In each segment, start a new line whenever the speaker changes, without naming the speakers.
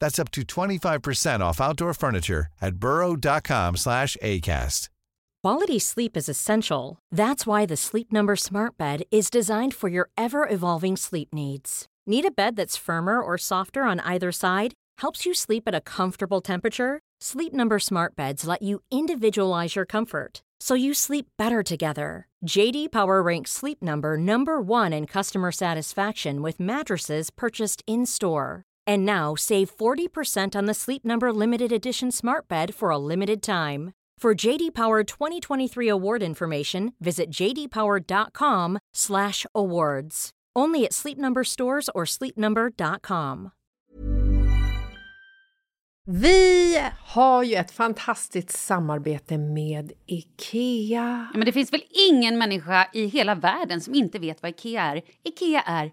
That's up to 25% off outdoor furniture at burrow.com/acast.
Quality sleep is essential. That's why the Sleep Number Smart Bed is designed for your ever evolving sleep needs. Need a bed that's firmer or softer on either side? Helps you sleep at a comfortable temperature? Sleep Number Smart Beds let you individualize your comfort so you sleep better together. JD Power ranks Sleep Number number one in customer satisfaction with mattresses purchased in store. And now save 40% on the Sleep Number limited edition Smart Bed for a limited time. For JD Power 2023 award information, visit jdpower.com/awards. Only at Sleep Number stores or sleepnumber.com.
Vi har ju ett fantastiskt samarbete med IKEA.
Ja, men det finns väl ingen människa i hela världen som inte vet vad IKEA är. IKEA är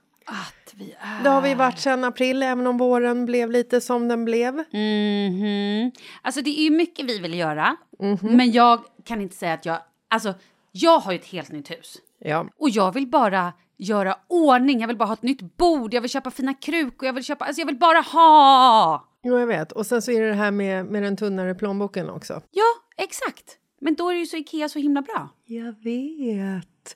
Att vi är...
Det har vi varit sedan april, även om våren blev lite som den blev.
Mm. Mhm. Alltså det är ju mycket vi vill göra, men jag kan inte säga att jag... Alltså, jag har ju ett helt nytt hus.
Ja.
Och jag vill bara göra ordning, jag vill bara ha ett nytt bord, jag vill köpa fina krukor, jag vill köpa... Alltså jag vill bara ha!
Jo, jag vet. Och sen så är det det här med, med den tunnare plånboken också.
Ja, exakt. Men då är ju så Ikea så himla bra.
Jag vet.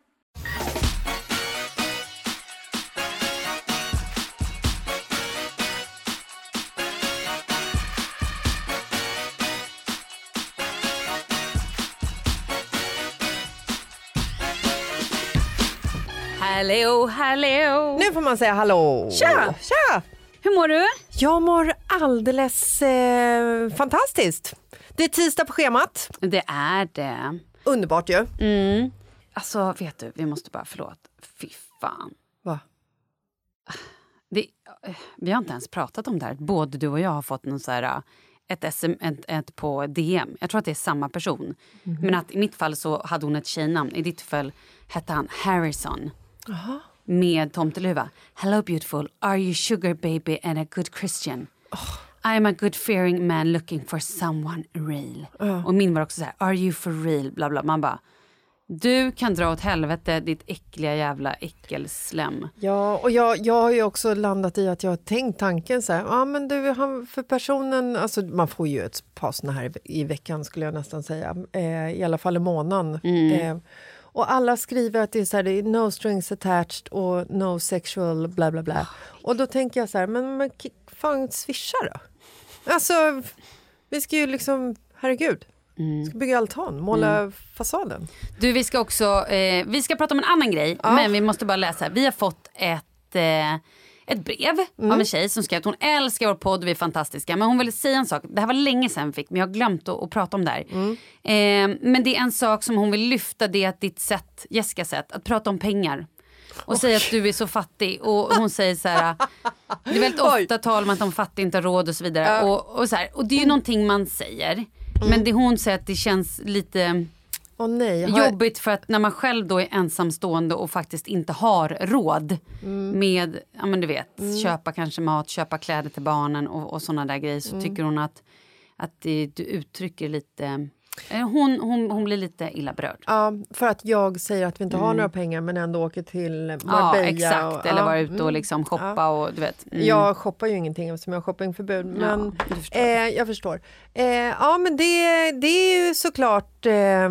Hallå, hallå!
Nu får man säga hallå!
Tja!
Tja!
Hur mår du?
Jag mår alldeles eh, fantastiskt. Det är tisdag på schemat.
Det är det.
Underbart ju.
Alltså, vet du, vi måste bara... Förlåt. Fy fan.
Va?
Det, eh, vi har inte ens pratat om det här. Både du och jag har fått någon så här, eh, ett, SM, ett, ett på DM. Jag tror att det är samma person. Men att i mitt fall så hade hon ett tjejnamn. I ditt fall hette han Harrison. Med tomteluva. Hello beautiful, are you sugar baby and a good Christian? I am a good fearing man looking for someone real. Och min var också så här, are you for real? Bla bla. Man bara, du kan dra åt helvete ditt äckliga jävla äckelslem.
Ja, och jag, jag har ju också landat i att jag har tänkt tanken så här, ja men du, han, för personen, alltså man får ju ett par såna här i veckan skulle jag nästan säga, eh, i alla fall i månaden. Eh, och alla skriver att det är så här, det är no strings attached och no sexual bla bla bla. Och då tänker jag så här, men, men k- fan swisha då? Alltså, vi ska ju liksom, herregud.
Ska bygga altan, måla fasaden.
Du, vi ska också eh, vi ska prata om en annan grej, men vi måste bara läsa. Vi har fått ett, eh, ett brev av en tjej som skrev att hon älskar vår podd, vi är fantastiska. Men hon ville säga en sak, det här var länge sedan vi fick, men jag har glömt att, att prata om det här. Eh, men det är en sak som hon vill lyfta, det är att ditt sätt, Jessicas sätt, att prata om pengar. Och säga att du är så fattig. Och hon säger så här, det är väldigt ofta tal om att de fattiga inte har råd och så vidare. Och, och, så här, och det är ju någonting man säger. Men det hon säger att det känns lite
Åh nej, har jag,
jobbigt för att när man själv då är ensamstående och faktiskt inte har råd
Mm.
med, ja men du vet, köpa kanske mat, köpa kläder till barnen och, och sådana där grejer så
Mm.
tycker hon att, att det, du uttrycker lite, eh, hon, hon, hon blir lite illa berörd.
ja, för att jag säger att vi inte har några pengar men ändå åker till Marbella.
Mm. ja exakt,
och,
eller
ja,
vara ute och
mm.
liksom shoppa
Ja.
och du vet. Mm.
Jag shoppar ju ingenting eftersom jag har shoppingförbud. Men
du förstår.
eh, jag förstår. Eh, ja, men det, det är ju såklart... Eh,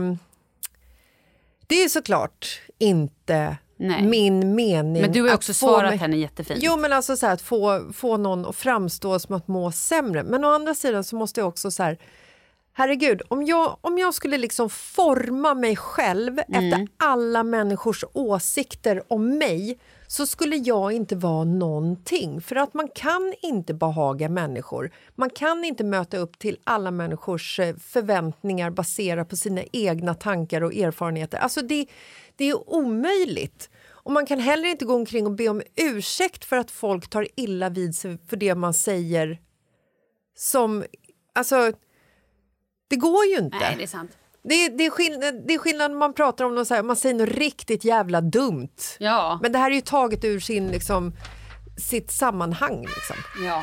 det är ju såklart inte
Nej.
min mening.
Men du har ju
att
också
få
svarat
mig-
henne jättefint.
Jo, men alltså så här, att få, få någon att framstå som att må sämre. Men å andra sidan så måste jag också så här, herregud, om jag, om jag skulle liksom forma mig själv efter alla människors åsikter om mig så skulle jag inte vara någonting. För att man kan inte behaga människor. Man kan inte möta upp till alla människors eh, förväntningar baserat på sina egna tankar och erfarenheter. Alltså det, det är omöjligt. Och man kan heller inte gå omkring och be om ursäkt för att folk tar illa vid sig för det man säger som... Alltså, det går ju inte.
Nej, det är sant.
Det, är- det, är skillnad, det är skillnad när man pratar om något så här, man säger något riktigt jävla dumt.
Ja.
Men det här är ju taget ur sin, liksom, sitt sammanhang. Liksom.
Ja.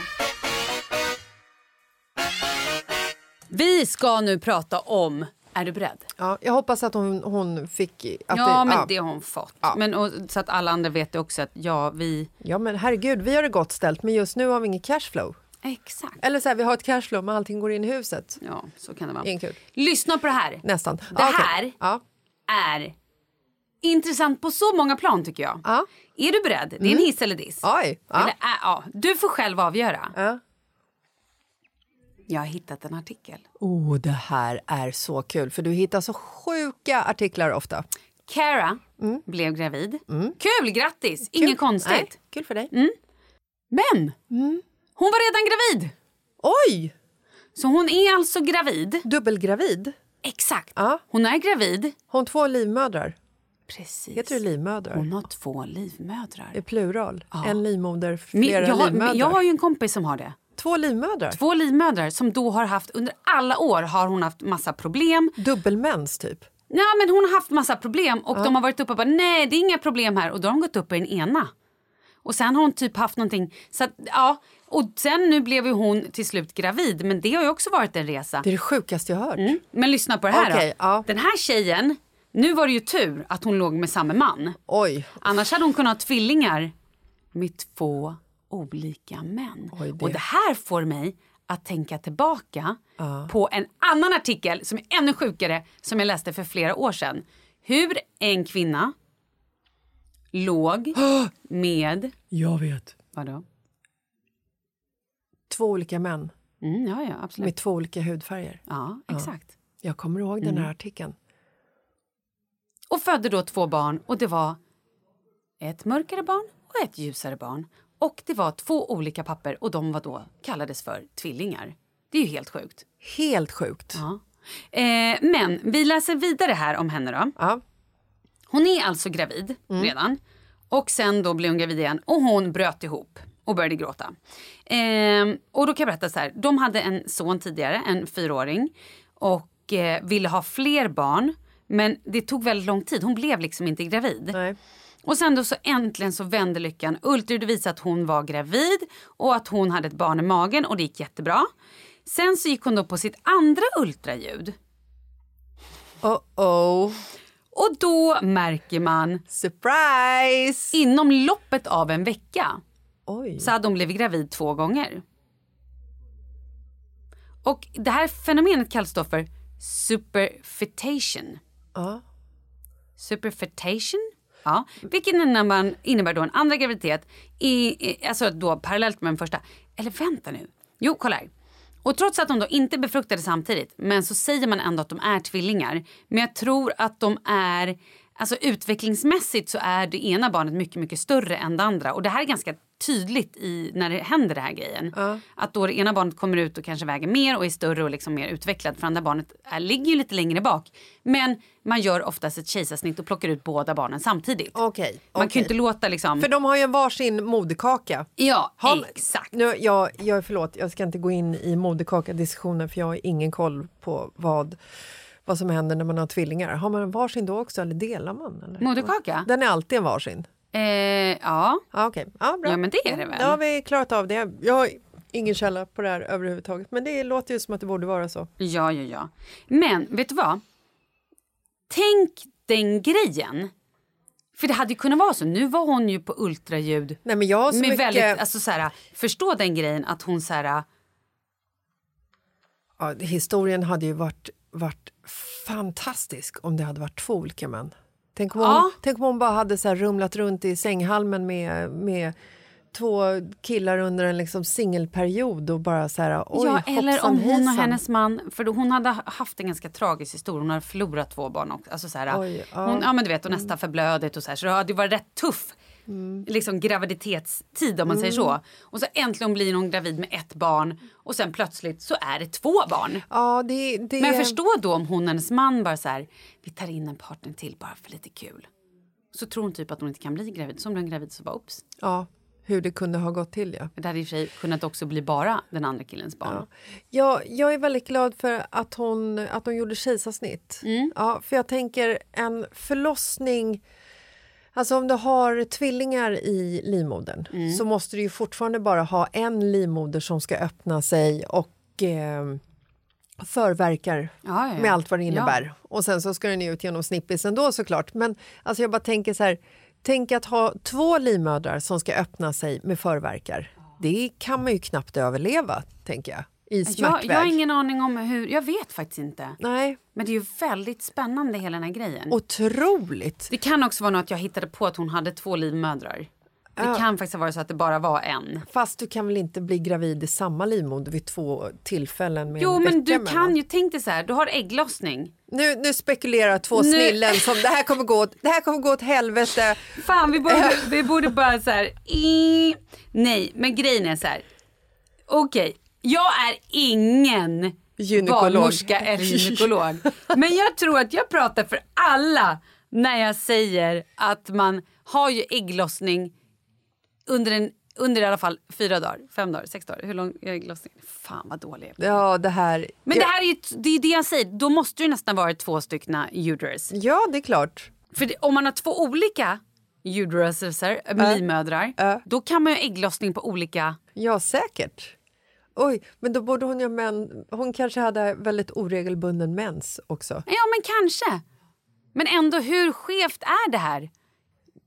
Vi ska nu prata om, är du beredd?
Ja, jag hoppas att hon, hon fick... Att
ja, men
ja.
det har hon fått. Men, och, så att alla andra vet det också att ja, vi...
ja, men herregud, vi har det gott ställt, men just nu har vi ingen cashflow.
Exakt.
Eller så här, vi har ett cashflow, men allting går in i huset.
Ja, så kan det vara.
Ingen kul.
Lyssna på det här.
Nästan.
Det
Ja, okej.
här
Ja.
är intressant på så många plan tycker jag.
Ja.
Är du beredd? Det är en hiss eller diss.
Oj! Ja.
Eller, äh, ja. Du får själv avgöra.
Ja.
Jag har hittat en artikel.
Oh, det här är så kul, för du hittar så sjuka artiklar ofta.
Cara
Mm.
blev gravid. Kul, grattis! Inget konstigt.
Nej, kul för dig.
Men
Mm.
hon var redan gravid!
Oj!
Så hon är alltså gravid.
Dubbelgravid.
Exakt.
Ja.
Hon är gravid.
Har hon två livmödrar?
Precis.
Heter det livmödrar?
Hon har två livmödrar.
I plural. En livmoder,
Min-
flera
jag, har,
livmödrar.
jag har ju en kompis som har det.
Två livmödrar?
Två livmödrar som då har haft, under alla år har hon haft massa problem.
Dubbelmens, typ.
Nej men hon har haft massa problem och de har varit uppe och bara nej det är inga problem här och då har hon gått upp i den ena. Och sen har hon typ haft någonting, så att, ja. Och sen nu blev ju hon till slut gravid men det har ju också varit en resa. Mm.
Det är det sjukaste jag hört.
Men lyssna på det här
Okej,
då.
ja.
Den här tjejen, nu var det ju tur att hon låg med samma man.
Oj.
Annars hade hon kunnat ha tvillingar med två olika män.
Oj, det-
Och det här får mig att tänka tillbaka på en annan artikel som är ännu sjukare som jag läste för flera år sedan. Hur en kvinna låg med...
Jag vet.
Vadå?
Två olika män
Mm, ja, ja, absolut.
med två olika hudfärger.
Ja, exakt.
Jag kommer ihåg
Mm.
den här artikeln.
och födde då två barn och det var ett mörkare barn och ett ljusare barn. Och det var två olika papper och de var då kallades för tvillingar. Det är ju helt sjukt.
Helt sjukt.
Ja. Eh, men vi läser vidare här om henne då.
Ja.
Hon är alltså gravid redan. Och sen då blev hon gravid igen och hon bröt ihop och började gråta. Ehm, och då kan jag berätta så här. De hade en son tidigare, en fyraåring. Och eh, ville ha fler barn. Men det tog väldigt lång tid. Hon blev liksom inte gravid.
Nej.
Och sen då så äntligen så vände lyckan. Ultraljud visade att hon var gravid och att hon hade ett barn i magen och det gick jättebra. Sen så gick hon då på sitt andra ultraljud.
Oh-oh.
Och då märker man
Surprise!
inom loppet av en vecka
Oj.
så hade hon blivit gravid två gånger. Och det här fenomenet kallas då för superfetation.
Ja.
Superfetation? Ja, vilket innebär, innebär då en andra graviditet, i, i, alltså då parallellt med den första. Eller vänta nu. Jo, kolla här. Och trots att de då inte är befruktade samtidigt, men så säger man ändå att de är tvillingar. Men jag tror att de är, alltså utvecklingsmässigt så är det ena barnet mycket, mycket större än det andra. Och det här är ganska tydligt i, när det händer det här grejen. Att då det ena barnet kommer ut och kanske väger mer och är större och liksom mer utvecklad. För andra barnet är, ligger ju lite längre bak. Men man gör oftast ett kejsarsnitt och plockar ut båda barnen samtidigt.
Okej.
Man kan
okej.
ju inte låta liksom...
För de har ju en varsin moderkaka.
Ja,
Har-
exakt.
Nu, jag, jag, förlåt, jag ska inte gå in i moderkaka-diskussionen för jag har ingen koll på vad, vad som händer när man har tvillingar. Har man en varsin då också eller delar man? Eller?
Moderkaka?
Den är alltid en varsin?
Eh, ja.
Ja, okej. Ja, bra.
Ja, men det är det väl?
Då har vi klarat av det. Jag har ingen källa på det här överhuvudtaget men det låter ju som att det borde vara så.
Ja, ja, ja. Men vet du vad? Tänk den grejen. För det hade ju kunnat vara så. Nu var hon ju på ultraljud.
Nej, men jag har så
Med
mycket...
väldigt, alltså, så här, förstå den grejen att hon så här...
Ja, historien hade ju varit, varit fantastisk om det hade varit två olika män. Tänk om,
Ja.
hon, tänk om hon bara hade så här rumlat runt i sänghalmen med, med två killar under en liksom singelperiod och bara så här... Oj,
ja, eller
hoppsan
om hon och
hejsan.
hennes man... För då, hon hade haft en ganska tragisk historia. Hon hade förlorat två barn också. Alltså, så här,
Oj, ja. Mm.
hon, ja, men du vet, och nästan förblödet och så här. Så det hade ju varit rätt tuff liksom, graviditetstid om man säger
Mm.
så. Och så äntligen blir hon gravid med ett barn och sen plötsligt så är det två barn.
Ja, det, det...
Men förstå då om hon och hennes man bara så här, vi tar in en partner till bara för lite kul. Så tror hon typ att hon inte kan bli gravid. Som blir hon gravid så bara ups.
Ja, hur det kunde ha gått till, ja.
Det hade i och för sig kunnat också bli bara den andra killens barn.
Jag, jag är väldigt glad för att hon, att hon gjorde kejsarsnitt.
Mm.
Ja, för jag tänker en förlossning... Alltså om du har tvillingar i livmodern
Mm.
så måste du ju fortfarande bara ha en livmoder som ska öppna sig och eh, förverkar
Ja, ja, ja.
med allt vad det innebär. Och sen så ska den ju ut genom snippis ändå såklart. Men alltså jag bara tänker så här, tänk att ha två livmödrar som ska öppna sig med förverkar. Det kan man ju knappt överleva, tänker jag, i
Jag,
smärtväg.
jag har ingen aning om hur, jag vet faktiskt inte.
Nej,
Men det är ju väldigt spännande hela den här grejen.
otroligt.
det kan också vara något att jag hittade på att hon hade två livmödrar. Det kan faktiskt vara så att det bara var en.
Fast du kan väl inte bli gravid i samma livmoder vid två tillfällen? Med
Jo
en
men
vecka
du
emellan?
kan ju, tänk dig så här, du har ägglossning.
Nu, nu spekulerar två
Nu-
snillen som det här kommer gå åt, det här kommer gå åt helvete.
Fan, vi borde,
Eh.
vi borde bara så här... i- Nej, men grejen är så här. Okej, jag är ingen
Gynekolog.
barnmorska eller gynekolog. Men jag tror att jag pratar för alla när jag säger att man har ju ägglossning under, en, under i alla fall fyra dagar, fem dagar, sex dagar. Hur lång är ägglossningen? Fan vad dålig jag är.
Ja, det här...
Men det här är ju det, är det jag säger, då måste det ju nästan vara två stycken uterus.
Ja, det är klart.
För det, om man har två olika uterusar, äh. livmödrar, då kan man ju ha ägglossning på olika...
Ja, säkert. Oj, men då borde hon ju ha män... Hon kanske hade väldigt oregelbunden mens också.
Ja, men kanske. Men ändå, hur skevt är det här?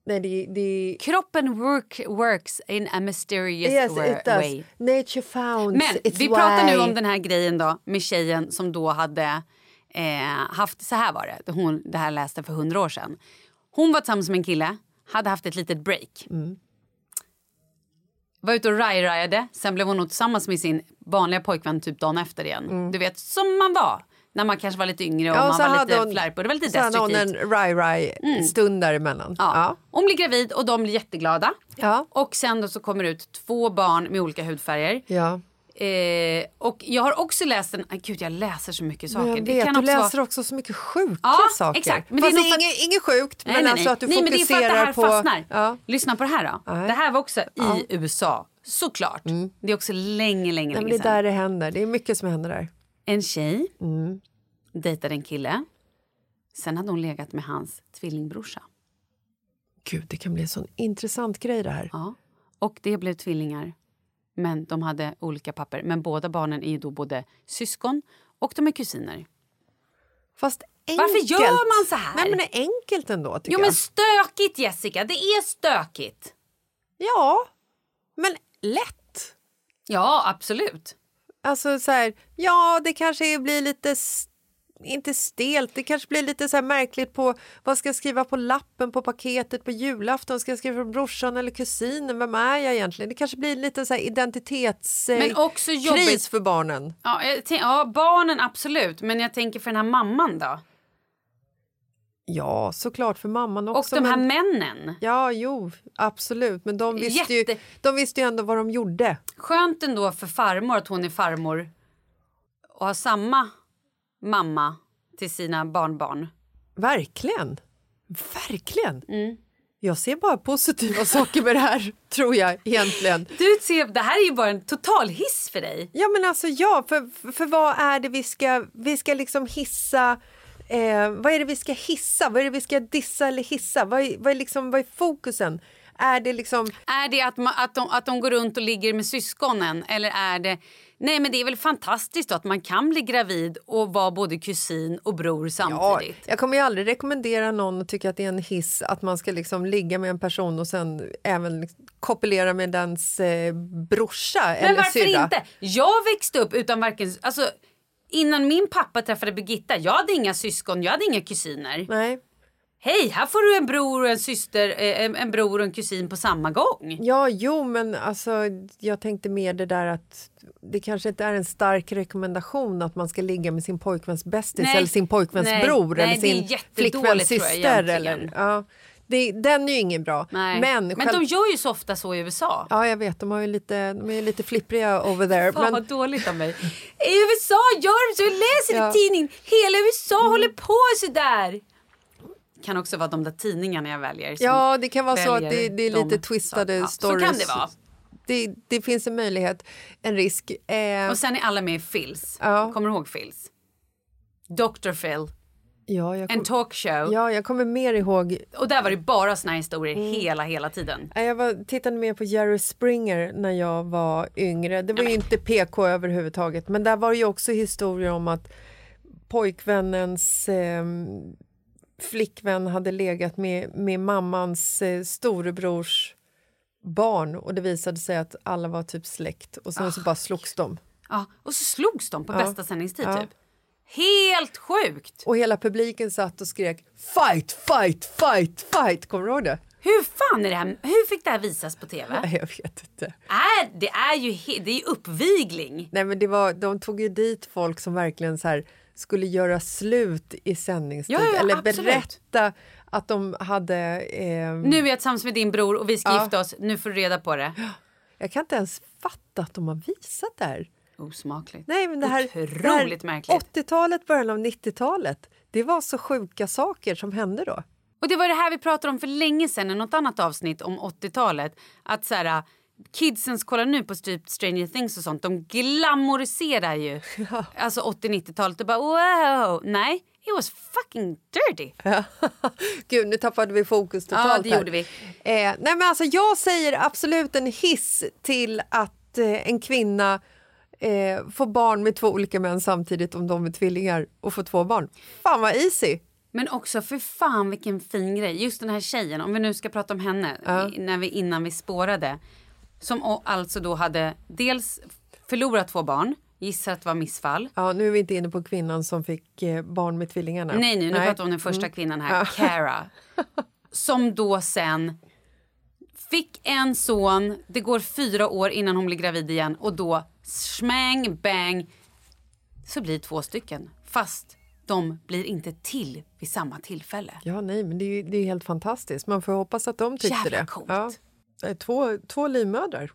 Nej, det... det
Kroppen work, works in a mysterious
yes,
wa-
it does.
way.
Nature founds
Men
its
vi pratar nu
way.
om den här grejen då med tjejen som då hade eh, haft, så här var det, hon, det här läste jag för hundra år sedan. Hon var tillsammans med en kille, hade haft ett litet break.
Mm.
Var ute och raj-rajade, sen blev hon nog tillsammans med sin vanliga pojkvän typ dagen efter igen. Du vet, som man var. När man kanske var lite yngre och
Mm. Ja,
man
så
var
hade
lite
hon-
flärpig. Det var lite
Så hade hon
destruktivt. Mm.
en raj-raj-stund däremellan.
Ja. Hon blir gravid och de blir jätteglada.
Ja.
Och sen då så kommer det ut två barn med olika hudfärger.
ja.
Eh, och jag har också läst en... ah, Gud, jag läser så mycket
Men
saker.
jag
det
vet,
kan
du
också
läser
vara...
också så mycket sjuka
Ja,
saker.
exakt. Men det är
Fast det
nog för
är
att-
inget, inget sjukt,
Nej,
men
nej,
alltså
nej.
att du
nej, men det är för att det
fokuserar
här
på...
fastnar.
Ja.
Lyssna på det här då.
Nej.
Det här var också i USA. Såklart. Det är också länge, länge,
Nej, men
länge
det är
sedan.
där det händer. Det är mycket som händer där. Mm.
En tjej dejtade en kille. Sen hade hon legat med hans tvillingbrorsa.
Gud, det kan bli en sån intressant grej det här.
Ja. Och det blev tvillingar. Men de hade olika papper. Men båda barnen är ju då både syskon och de är kusiner.
Fast enkelt.
Varför gör man så här?
Nej, men det är enkelt ändå, tycker
Jo men
jag.
stökigt Jessica, det är stökigt.
Ja, men lätt.
Ja, absolut.
Alltså så här, ja, det kanske blir lite s- inte stelt, det kanske blir lite så här märkligt på vad ska jag skriva på lappen på paketet på julafton? Ska jag skriva på brorsan eller kusinen? Vem är jag egentligen? Det kanske blir lite så här
Men också jobbigt-
identitetskris för barnen.
Ja, jag tänk, ja, barnen absolut. Men jag tänker för den här mamman då.
Ja, såklart för mamman
Och
också.
de här
men-
männen.
Ja, jo, absolut. Men de visste, ju,
Jätte-
de visste ju ändå vad de gjorde.
Skönt ändå för farmor att hon är farmor och har samma mamma till sina barnbarn.
Verkligen. Verkligen.
Mm.
Jag ser bara positiva saker med det här, tror jag egentligen.
Du ser, det här är ju bara en total hiss för dig.
Ja, men alltså ja, för, för vad är det vi ska, vi ska liksom hissa? Eh, vad är det vi ska hissa? Vad är det vi ska dissa eller hissa? Vad är, vad är, liksom, vad är fokusen? Är det liksom...
Är det att, ma- att, de, att de går runt och ligger med syskonen? Eller är det... Nej, men det är väl fantastiskt då att man kan bli gravid och vara både kusin och bror
Ja,
samtidigt.
jag kommer ju aldrig rekommendera någon att tycka att det är en hiss att man ska liksom ligga med en person och sen även kopulera med dens eh, brorsa
Men
eller
varför
syrra.
inte? Jag växte upp utan varken... Alltså, innan min pappa träffade Birgitta, jag hade inga syskon, jag hade inga kusiner.
Nej.
Hej, här får du en bror och en syster, eh, en, en bror och en kusin på samma gång.
Ja, jo, men alltså, jag tänkte mer det där att det kanske inte är en stark rekommendation att man ska ligga med sin pojkväns bästis
Nej.
eller sin pojkväns
Nej.
bror
Nej,
eller
det är
sin
jättedåligt,
flickväns
tror jag,
syster.
egentligen.
Eller, ja, det, den är ju ingen bra.
Nej.
Men,
Men
själv-
de gör ju så ofta så i USA.
Ja, jag vet, de, har ju lite, de är ju lite flippriga over there.
Fan
men,
vad dåligt av mig. I USA gör de så, jag läser
Ja. Mm.
i tidningen. Hela USA håller på sådär. Kan också vara de där tidningarna jag väljer. som
Ja, det kan vara så att
väljer
det, det är
de
lite twistade
sakerna.
stories.
Så kan det vara.
Det, det finns en möjlighet, en risk. Eh,
Och sen är alla med i Phils.
Ja.
Kommer du ihåg Phils? Dr. Phil.
ja, jag
En
kom,
talkshow.
ja, Mm. jag kommer mer ihåg...
Och där var det bara såna här historier hela, hela tiden.
eh, Jag var, tittade mer på Jerry Springer när jag var yngre. Det var ju inte PK överhuvudtaget, men där var det ju också historier om att pojkvännens eh, flickvän hade legat med, med mammans eh, storebrors barn och det visade sig att alla var typ släkt och sen så bara slogs de.
Ja. Och så slogs de på bästa sändningstid
Ja.
typ. Helt sjukt!
Och hela publiken satt och skrek fight, fight, fight, fight. Kommer du ihåg det?
Hur fan är det här? Hur fick det här visas på tv?
Nej, jag vet inte.
Är, det är ju he- det är ju uppvigling.
Nej, men det var, de tog ju dit folk som verkligen så här, skulle göra slut i sändningstid.
Ja, ja, ja,
eller
absolut.
berätta att de hade... Eh,
Nu är jag tillsammans med din bror och vi ska gifta oss. Nu får du reda på det.
Jag kan inte ens fatta att de har visat det här.
Osmakligt.
Nej, men det här, det här
Otroligt märkligt.
80-talet, början av 90-talet. Det var så sjuka saker som hände då.
Och det var det här vi pratade om för länge sedan i något annat avsnitt om 80-talet. Att så här, kidsens kollar nu på typ Stranger Things och sånt. De glamoriserar ju alltså 80-90-talet och bara wow. Nej, it was fucking dirty.
Gud, nu tappade vi fokus totalt.
Ja, det
här.
gjorde vi.
Eh, nej, men alltså, jag säger absolut en hiss till att eh, en kvinna eh, får barn med två olika män samtidigt om de är tvillingar och får två barn. Fan vad easy!
Men också för fan vilken fin grej. Just den här tjejen, om vi nu ska prata om henne i- när vi, innan vi spårade. Som o- alltså då hade dels förlorat två barn, gissar att det var missfall.
Ja, nu är vi inte inne på kvinnan som fick eh, barn med tvillingarna. Mm.
Nej, nej, Mm. nu pratar vi om den första kvinnan här, Cara. Som då sen fick en son, det går fyra år innan hon blir gravid igen och då smäng, bang, så blir det två stycken. Fast de blir inte till vid samma tillfälle.
Ja, nej, men det är, ju, det är helt fantastiskt. Man får hoppas att de tyckte
Jävla
det.
coolt.
Ja. Eh, Två, två livmödrar.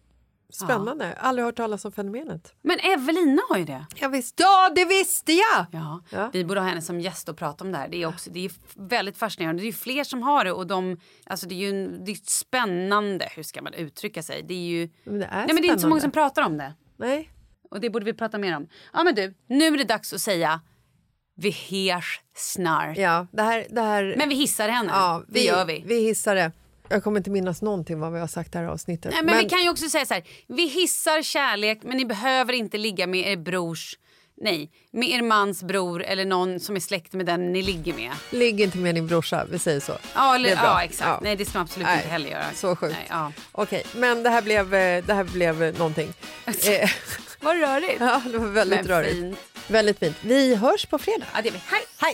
Spännande. Aldrig hört talas om fenomenet.
Men Evelina har ju det.
Ja, visst. ja, det visste jag!
Ja,
Ja.
Vi borde ha henne som gäst och prata om det här. Det är, också, det är f- väldigt fascinerande. Det är ju fler som har det och de, alltså det är ju en- det är spännande. Hur ska man uttrycka sig? Det är ju...
Men det är
Nej, men det är inte så
spännande.
många som pratar om det.
Nej.
Och det borde vi prata mer om. Ja men du, nu är det dags att säga vi hörs snart.
Ja, det här, det här...
Men vi hissar henne.
Ja,
det gör vi.
Vi hissar det. Jag kommer inte minnas någonting vad vi har sagt det här avsnittet.
Nej, men, vi kan ju också säga så här. Vi hissar kärlek men ni behöver inte ligga med er brors Nej, med er mans bror eller någon som är släkt med den ni ligger med.
Ligg inte med din brorsa, vi säger så.
Ja,
Det
eller,
är bra.
ja exakt.
Ja.
Nej, det ska man absolut
Nej,
inte heller göra.
Så sjukt.
Nej, ja.
Okej, men det här blev, eh, det här blev eh, någonting. Eh,
Vad rörigt.
ja, det var väldigt
Men
rörigt.
fint.
Väldigt fint. Vi hörs på fredag.
Ja, det är vi. Hej!
Hej!